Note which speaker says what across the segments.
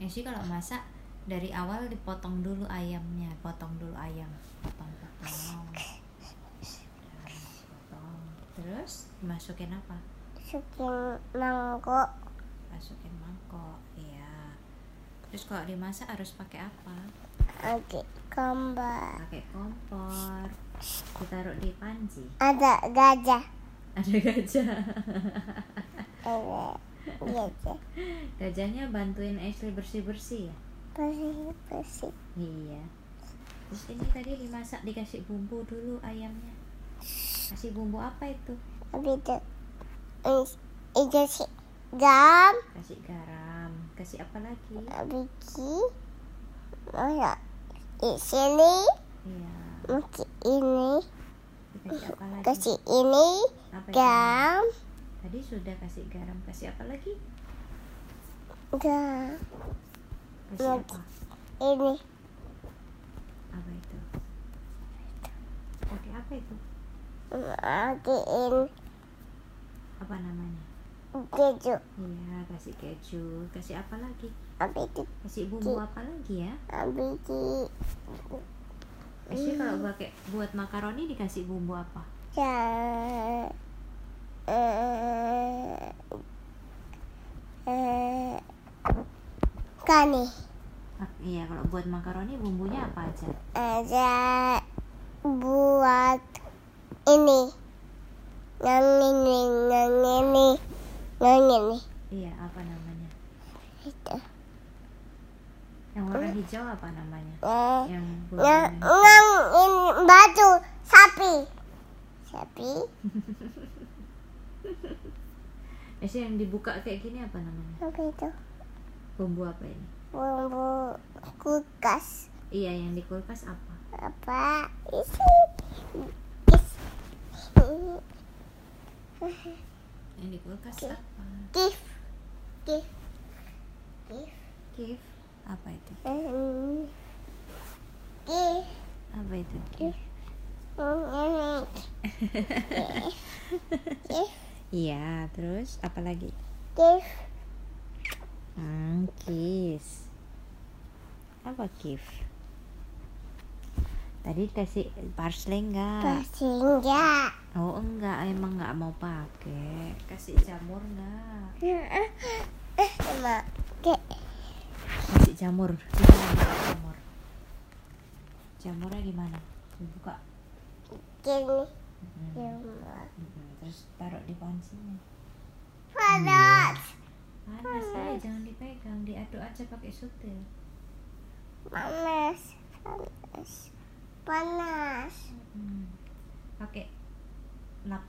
Speaker 1: Yoshi Ya kalau masak dari awal dipotong dulu ayamnya, potong dulu ayam, potong potong. Potong. Terus masukin apa?
Speaker 2: Masukin mangkok
Speaker 1: Masukin mangkok, iya. Terus kalau dimasak harus pakai apa?
Speaker 2: Oke gambar
Speaker 1: Pakai kompor. Ditaruh di panci.
Speaker 2: Ada gajah
Speaker 1: Ada gajah.
Speaker 2: Ada gajah
Speaker 1: Gajahnya bantuin Ashley bersih-bersih ya?
Speaker 2: Bersih-bersih
Speaker 1: Iya. Terus ini tadi dimasak dikasih bumbu dulu ayamnya. Kasih bumbu apa itu?
Speaker 2: Habis itu is- Itu si Gam
Speaker 1: Kasih garam. Kasih apa lagi?
Speaker 2: Biki Mana Di sini
Speaker 1: Iya.
Speaker 2: Mungkin ini
Speaker 1: Dikasih apa lagi?
Speaker 2: Kasih ini
Speaker 1: apa itu?
Speaker 2: Gam
Speaker 1: Tadi sudah kasih garam. Kasih apa lagi?
Speaker 2: Gam
Speaker 1: Kasih
Speaker 2: Lagi.
Speaker 1: apa?
Speaker 2: Ini
Speaker 1: Apa itu? Pakai apa itu?
Speaker 2: Matiin
Speaker 1: Apa namanya?
Speaker 2: Keju
Speaker 1: Iya, kasih keju. Kasih apa lagi?
Speaker 2: Habis itu
Speaker 1: Kasih bumbu apa lagi ya?
Speaker 2: Habis itu Hmm.
Speaker 1: Ashley kalau pakai buat makaroni dikasih bumbu apa?
Speaker 2: Ja- eh, eh, Kani
Speaker 1: Ah, Iya, kalau buat makaroni bumbunya apa aja?
Speaker 2: ada buat ini yang ini yang ini yang ini
Speaker 1: Iya, apa namanya?
Speaker 2: itu
Speaker 1: Yang warna hijau apa namanya?
Speaker 2: Hmm. Eh, oh.
Speaker 1: Yang
Speaker 2: yang
Speaker 1: warna
Speaker 2: yang ini batu sapi sapi
Speaker 1: Eh, sih, yang dibuka kayak gini apa namanya?
Speaker 2: apa itu
Speaker 1: Bumbu apa ini?
Speaker 2: bumbu kulkas
Speaker 1: Iya, yang di kulkas apa?
Speaker 2: apa isi isi
Speaker 1: Yang di kulkas
Speaker 2: Oke.
Speaker 1: apa?
Speaker 2: gift gift
Speaker 1: Kif. Apa itu?
Speaker 2: Mm. gift
Speaker 1: Apa itu? Kif.
Speaker 2: Mm, gift
Speaker 1: Iya, terus apa lagi?
Speaker 2: gift
Speaker 1: Hmm, kis. Apa kif? Tadi kasih parsley enggak?
Speaker 2: sehingga
Speaker 1: Oh enggak, emang enggak mau pakai. Kasih jamur enggak?
Speaker 2: cuma ke
Speaker 1: kasih jamur kita mau masak jamur jamurnya gimana dibuka
Speaker 2: gini
Speaker 1: Mm-mm.
Speaker 2: cuma
Speaker 1: Mm-mm. Hmm. terus taruh di pancinya
Speaker 2: panas
Speaker 1: panas aja jangan dipegang diaduk aja pakai sutil
Speaker 2: panas panas panas
Speaker 1: Mm. pakai lap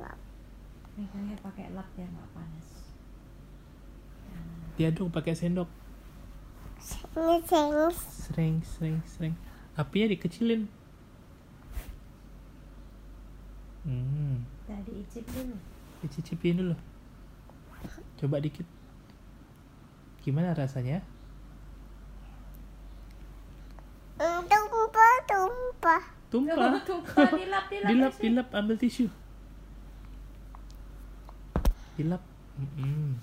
Speaker 2: Lap.
Speaker 1: megangnya pakai lap biar nggak panas
Speaker 3: diaduk pakai sendok
Speaker 2: ini sengs
Speaker 3: sering sering sering apinya dikecilin hmm
Speaker 1: tadi icip dulu
Speaker 3: dicicipin dulu coba dikit gimana rasanya
Speaker 2: Eh, tumpah tumpah
Speaker 3: tumpah
Speaker 1: tumpah dilap dilap
Speaker 3: dilap
Speaker 1: Esi.
Speaker 3: dilap ambil tisu dilap Mm-mm.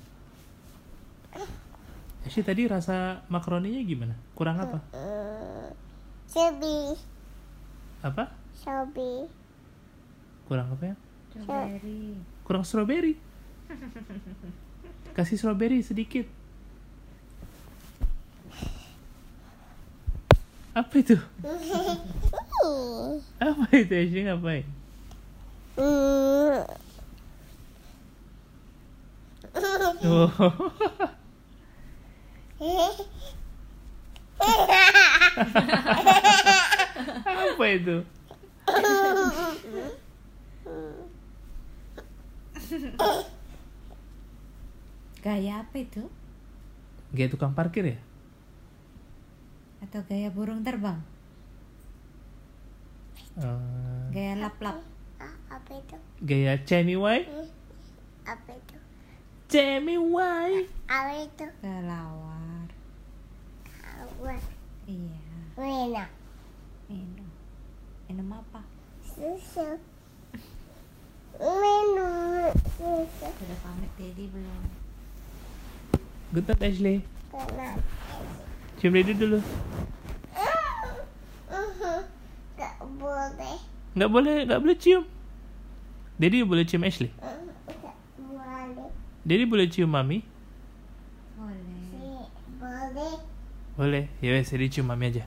Speaker 3: Esi, tadi rasa makaroninya gimana kurang apa
Speaker 2: Mm. Sebi,
Speaker 3: apa
Speaker 2: sobi,
Speaker 3: kurang apa ya
Speaker 1: strawberry
Speaker 3: kurang strawberry kasih strawberry sedikit apa itu
Speaker 2: Hmm.
Speaker 3: apa itu Esi ngapain oh
Speaker 2: Eh.
Speaker 3: apa itu
Speaker 1: gaya apa itu
Speaker 3: Gaya tukang parkir ya
Speaker 1: atau gaya burung terbang
Speaker 3: Eh,
Speaker 1: gaya lap lap
Speaker 2: Ah, apa itu? Eh,
Speaker 3: gaya Jamie White
Speaker 2: Apa itu?
Speaker 3: Jamie White
Speaker 2: Apa itu?
Speaker 1: kelawar
Speaker 2: Apa?
Speaker 1: iya
Speaker 2: Wena.
Speaker 1: Minum. Minum apa?
Speaker 2: Susu. Minum susu.
Speaker 1: Sudah pamit Dedi belum?
Speaker 3: Good night Ashley
Speaker 2: Kena. Eh,
Speaker 3: Cium dada dulu.
Speaker 2: Tak eh, boleh.
Speaker 3: Nggak boleh, nggak boleh cium. Daddy boleh cium Ashley.
Speaker 2: Tak Eh, boleh.
Speaker 3: Daddy boleh cium mami.
Speaker 1: Boleh.
Speaker 2: Tak boleh.
Speaker 3: Boleh. Ya wes, Daddy cium mami aja.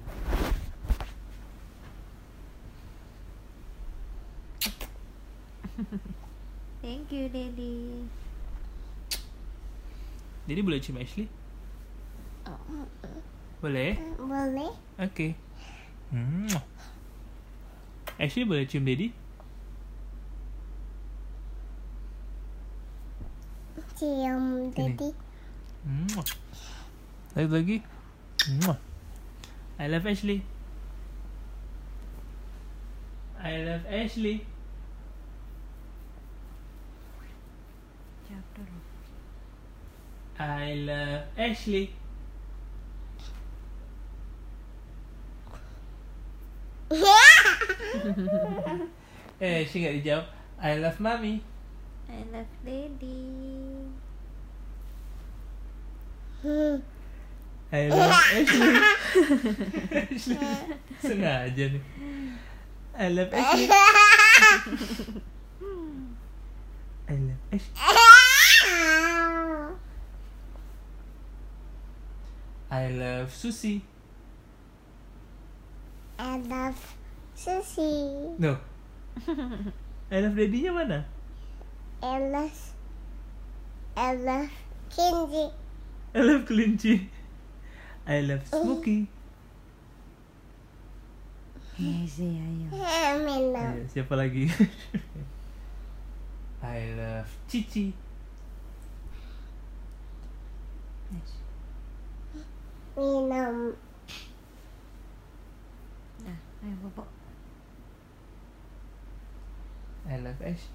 Speaker 1: Thank you, Daddy.
Speaker 3: Daddy boleh cium Ashley? Boleh.
Speaker 2: Tak boleh.
Speaker 3: Oke. Hmm. Ashley boleh cium Daddy?
Speaker 2: Cium daddy.
Speaker 3: Hmm. Lagi lagi. Hmm. I love Ashley. I love Ashley.
Speaker 1: Jawab dulu.
Speaker 3: I love Ashley. Eh, Ashley nggak dijawab. I love mommy.
Speaker 1: I love Daddy.
Speaker 2: Hmm.
Speaker 3: I love Ashley. Ashley. Sengaja nih. I love Ashley. I love Ashley. I love Susie.
Speaker 2: I love Susie.
Speaker 3: No. I love daddy-nya mana?
Speaker 2: I love. I love Kenji.
Speaker 3: I love kelinci. I love Smokey.
Speaker 1: Easy, ayo.
Speaker 2: I love.
Speaker 3: Ayo, siapa lagi? I love Cici.
Speaker 1: Yes.
Speaker 2: Minum.
Speaker 1: Nah, ayo bobok.
Speaker 3: I love Ash.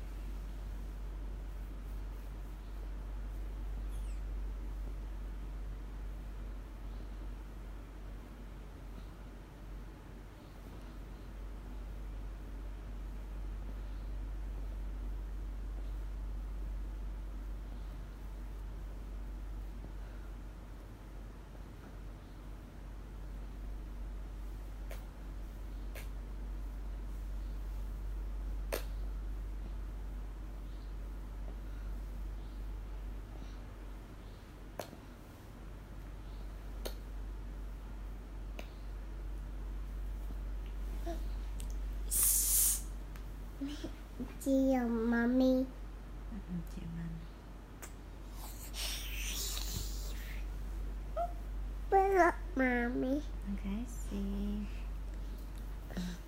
Speaker 2: Cium mommy.
Speaker 1: Mm, Cik Mami.
Speaker 2: Peluk mommy.
Speaker 1: Makasih.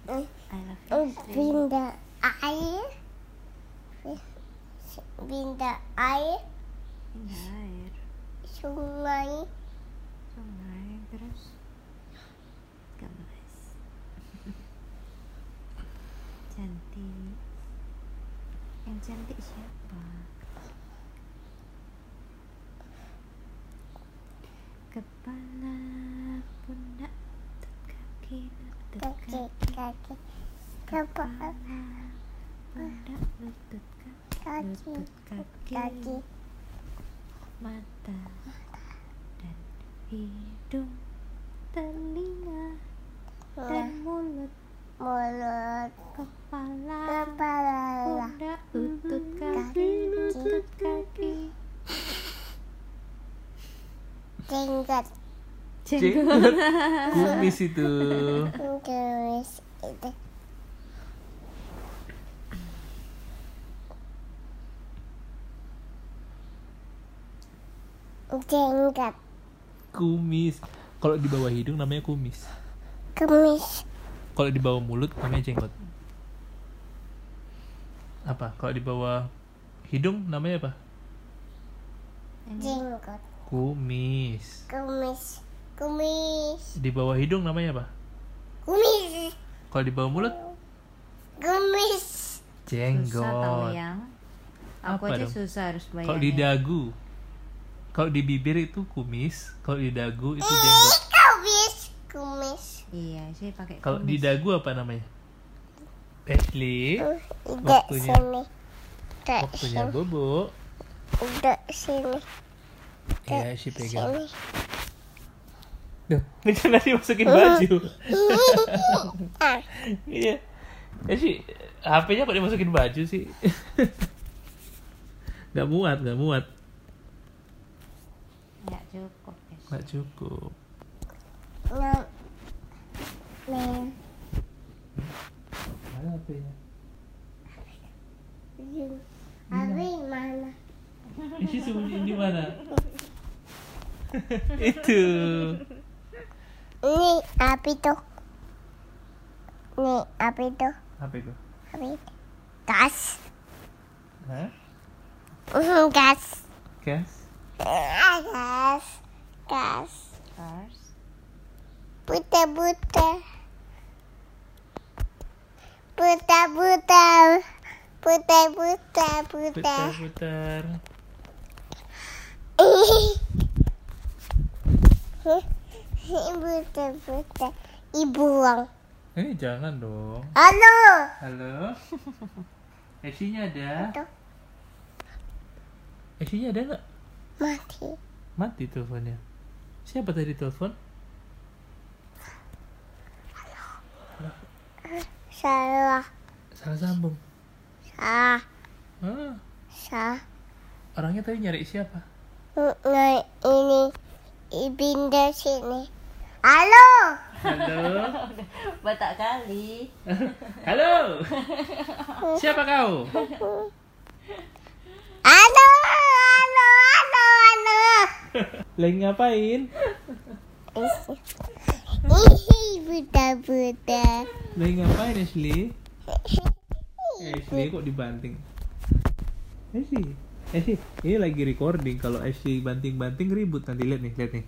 Speaker 1: I love
Speaker 2: Oh.
Speaker 1: you.
Speaker 2: Bin the eye. Bin the eye.
Speaker 1: Ini air.
Speaker 2: Sungai.
Speaker 1: Sungai terus. Gemes. Cantik. Yang cantik siapa? Kepala, pundak, lutut, kaki, lutut,
Speaker 2: Kaki.
Speaker 1: kaki.
Speaker 2: Kaki. Kepala.
Speaker 1: Kepala, pundak, lutut, kaki,
Speaker 2: Kaki.
Speaker 1: lutut, kaki.
Speaker 2: Kaki.
Speaker 1: mata dan hidung telinga dan mulut
Speaker 2: Mulut.
Speaker 1: kepala
Speaker 2: Kepala.
Speaker 1: pundak lutut kaki lutut kaki
Speaker 2: Jenggot.
Speaker 3: Jenggot.
Speaker 1: Ah.
Speaker 3: Kumis itu.
Speaker 2: Terus itu. Jenggot.
Speaker 3: Kumis. Kalau di bawah hidung namanya kumis.
Speaker 2: Kemis.
Speaker 3: Kalau di bawah mulut namanya jenggot. Apa? Kalau di bawah hidung namanya apa?
Speaker 1: ini
Speaker 2: Jenggot.
Speaker 3: Kumis.
Speaker 2: Kumis. Kumis.
Speaker 3: Di bawah hidung namanya apa?
Speaker 2: Kumis.
Speaker 3: Kalau di bawah mulut
Speaker 2: Kumis.
Speaker 1: susah tahu
Speaker 3: jenggot.
Speaker 1: yang aku
Speaker 3: Apa ya?
Speaker 1: aja
Speaker 3: dong?
Speaker 1: susah harus ya. bayangin
Speaker 3: Kalau di dagu, kalau di bibir itu kumis, kalau di dagu itu jenggot.
Speaker 2: Kumis. Kumis.
Speaker 1: iya sih pakai
Speaker 3: Kalau di
Speaker 1: kumis
Speaker 3: dagu apa namanya? Ashley,
Speaker 2: Uh, Tidak
Speaker 3: Waktunya.
Speaker 2: sini. Tidak
Speaker 3: waktunya
Speaker 2: sini.
Speaker 3: bobo.
Speaker 2: Tidak sini.
Speaker 3: É, Ya, Ashley pegang.
Speaker 2: Sini.
Speaker 3: Duh, ini kan tadi masukin baju.
Speaker 2: Ah,
Speaker 3: Iya. Ya sih, HP-nya kok dimasukin baju sih? gak muat, gak muat.
Speaker 1: nggak cukup ya, guys
Speaker 3: Gak cukup.
Speaker 2: no. No.
Speaker 3: Mana HP-nya?
Speaker 2: You- Abi mana?
Speaker 3: Isi sembunyiin di mana? Itu.
Speaker 2: Ini api tuh. Ini api tuh.
Speaker 3: HP itu?
Speaker 2: Api. Gas.
Speaker 3: Hah?
Speaker 2: Mhm, Gas.
Speaker 3: Gas?
Speaker 2: Ah, Gas. Gas.
Speaker 1: Cars
Speaker 2: Putar putar. Putar putar. Putar putar putar.
Speaker 3: Putar-putar.
Speaker 2: Putar putar. Ibu uang.
Speaker 3: Eh, jangan dong.
Speaker 2: Halo.
Speaker 3: Halo? Esinya ada?
Speaker 2: Tuh,
Speaker 3: Esinya ada nggak?
Speaker 2: Mati.
Speaker 3: Mati teleponnya. Siapa tadi telepon?
Speaker 2: Salah.
Speaker 3: Salah sambung.
Speaker 2: Salah.
Speaker 3: Ah,
Speaker 2: Salah.
Speaker 3: orangnya tadi nyari siapa?
Speaker 2: Nah, ini ibinda sini. Halo.
Speaker 3: Halo?
Speaker 1: batak kali
Speaker 3: Halo? Siapa kau?
Speaker 2: Halo. Halo. Halo. Halo.
Speaker 3: Lagi ngapain?
Speaker 2: Ih, buta-buta.
Speaker 3: Lagi ngapain, Ashley? Ashley Iya, kok dibanting? Eh, Ashley? Ashley, ini lagi recording. Kalau Ashley banting-banting ribut nanti lihat nih, lihat nih.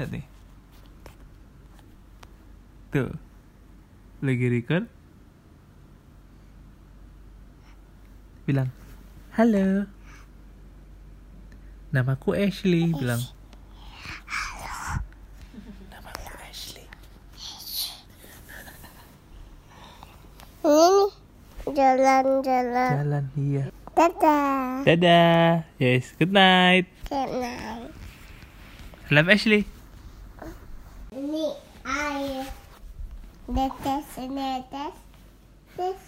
Speaker 3: Lihat nih. Tuh. Lagi record. Bilang, "Halo." Namaku Ashley, bilang. Namaku Ashley.
Speaker 2: Ini nih. Jalan-jalan.
Speaker 3: Jalan iya.
Speaker 2: Dadah.
Speaker 3: Dadah. Yes, good night.
Speaker 2: Kenal.
Speaker 3: Love Ashley.
Speaker 2: Ini air. Netes, netes. Netes.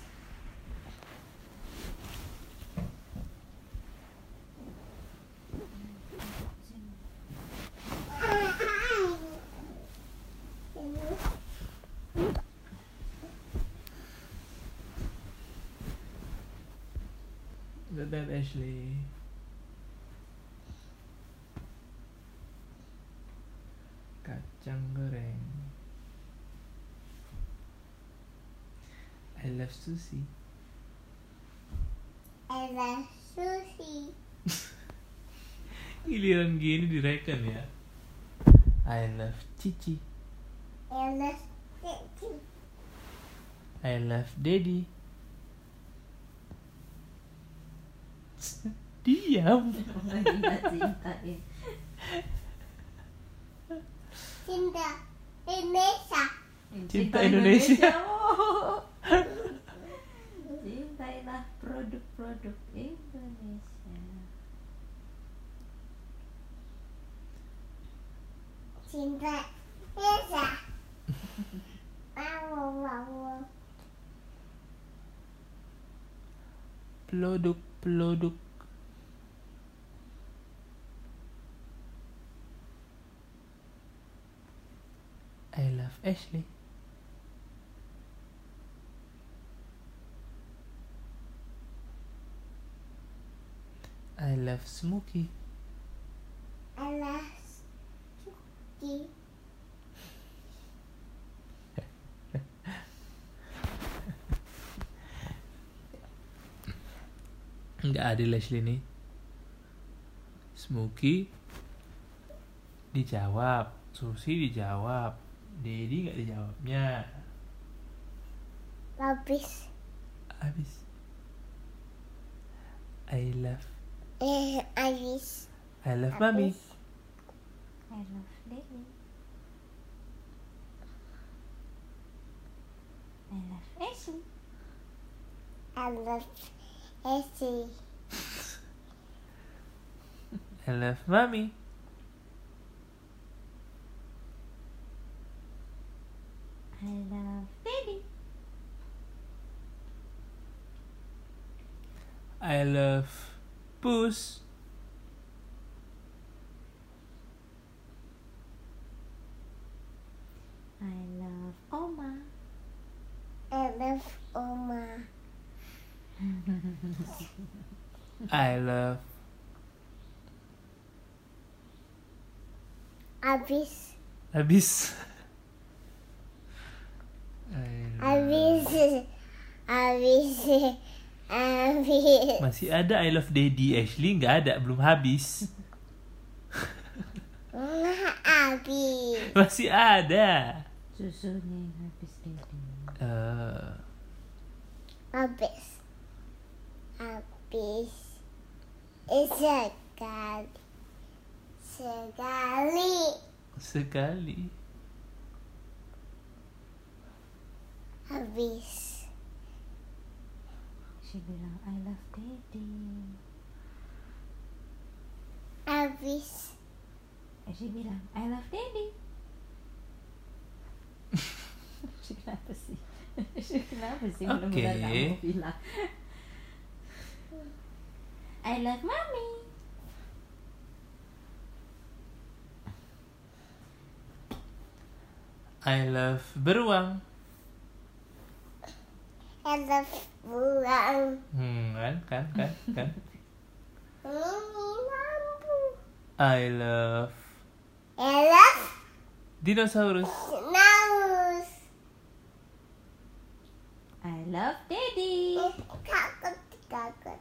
Speaker 3: Good night Ashley. Kacang goreng. I love sushi.
Speaker 2: Ada sushi.
Speaker 3: Giliran gini direken ya. I love Cici.
Speaker 2: Ada sushi.
Speaker 3: I love Daddy. Diam.
Speaker 1: cinta cinta ya
Speaker 2: Cinta. Indonesia.
Speaker 3: Cinta Indonesia.
Speaker 1: Indonesia. Cintailah produk-produk Indonesia.
Speaker 2: Cinta. Indonesia. Wow, wow, wow.
Speaker 3: Peloduk, peloduk. I love Ashley. I love Smokey.
Speaker 2: Ada sushi.
Speaker 3: Nggak adil Ashley nih. Smokey dijawab, Susi dijawab, Dedi nggak dijawabnya.
Speaker 2: Habis.
Speaker 3: Habis. I love
Speaker 2: Eh, habis.
Speaker 3: I love mami.
Speaker 1: I love Daddy. I love Ashley.
Speaker 2: I love Essie.
Speaker 3: I love mami. I love puss.
Speaker 1: I love Oma.
Speaker 2: I love Oma.
Speaker 3: I love
Speaker 2: Abis.
Speaker 3: habis. I
Speaker 2: Abis.
Speaker 3: love-
Speaker 2: Abis. Abis.
Speaker 3: Masih ada I love daddy Ashley nggak ada belum habis.
Speaker 2: Nah, abis.
Speaker 3: Masih ada.
Speaker 1: Susunya yang habis daddy.
Speaker 3: Eh,
Speaker 2: Abis. Abis. Eh, Sekali. Sekali.
Speaker 3: sekali.
Speaker 2: Abis.
Speaker 1: She bilang I love daddy.
Speaker 2: Abis.
Speaker 1: Eh, she bilang I love daddy. she kenapa sih? she kenapa sih?
Speaker 3: Oke.
Speaker 1: Mudah-mudahan kamu bilang. I love mommy.
Speaker 3: I love beruang.
Speaker 2: I love bulan.
Speaker 3: Hmm, kan kan kan kan.
Speaker 2: Ini lampu.
Speaker 3: I love
Speaker 2: I love
Speaker 3: dinosaurus.
Speaker 2: Naus.
Speaker 1: I love daddy.
Speaker 2: Kakut, kakut,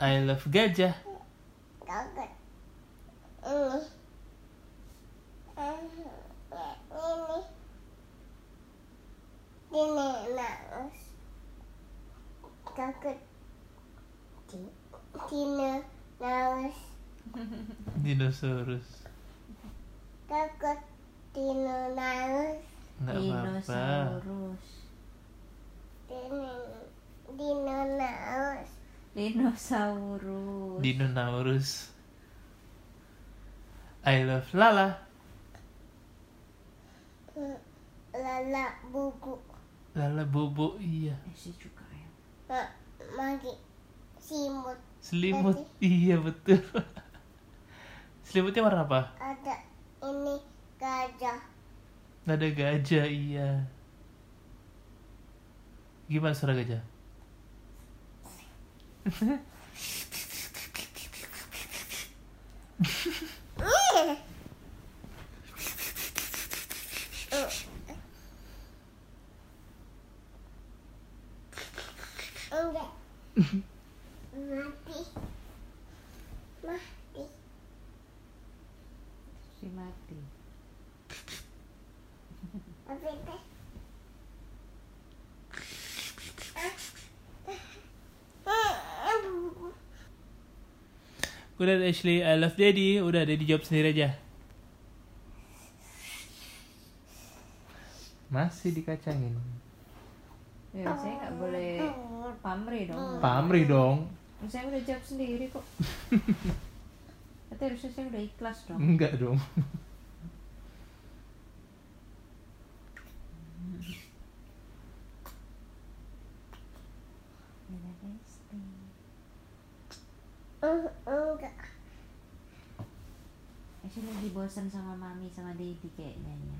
Speaker 3: I love gajah.
Speaker 2: kakut. Ini. Ini. Ini naus. Kakut. Dino naus.
Speaker 3: Dinosaurus.
Speaker 2: Kakut. Dino naus.
Speaker 3: Nggak apa-apa.
Speaker 1: Dinosaurus.
Speaker 2: Dino dino naus.
Speaker 1: Dinosaurus.
Speaker 3: Dinosaurus. I love lala.
Speaker 2: Lala buku.
Speaker 3: Lala bobo iya.
Speaker 1: eh, she juga ya.
Speaker 2: Ma- Magi simut.
Speaker 3: Selimut iya betul. Selimutnya warna apa?
Speaker 2: ada ini gajah
Speaker 3: Nada gajah iya. Gimana suara gajah?
Speaker 2: enggak mati mati
Speaker 1: Si mati.
Speaker 2: apa itu
Speaker 3: Udah Ashley, I love daddy. Udah daddy jawab sendiri aja. Masih dikacangin.
Speaker 1: Ya, Eh, saya nggak boleh pamrih dong.
Speaker 3: Pamri dong.
Speaker 1: Saya udah jawab sendiri kok. Tapi harusnya saya udah ikhlas dong.
Speaker 3: Enggak dong.
Speaker 1: Bella Besti.
Speaker 2: Oh, enggak
Speaker 1: Actually lagi Eh, bosan sama mami sama daddy kayaknya ya.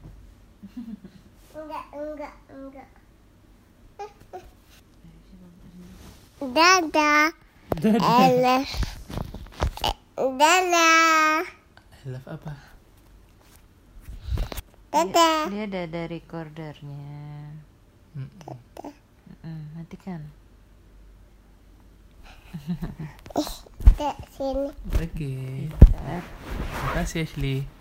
Speaker 2: enggak enggak enggak
Speaker 1: Actually, bentar nih.
Speaker 2: dadah Ella Eh, dadah
Speaker 3: I love apa?
Speaker 2: dadah
Speaker 1: Dia ada ada recordernya. Mm, matikan.
Speaker 2: Dek, sini
Speaker 3: Oke. Makasih Ashley.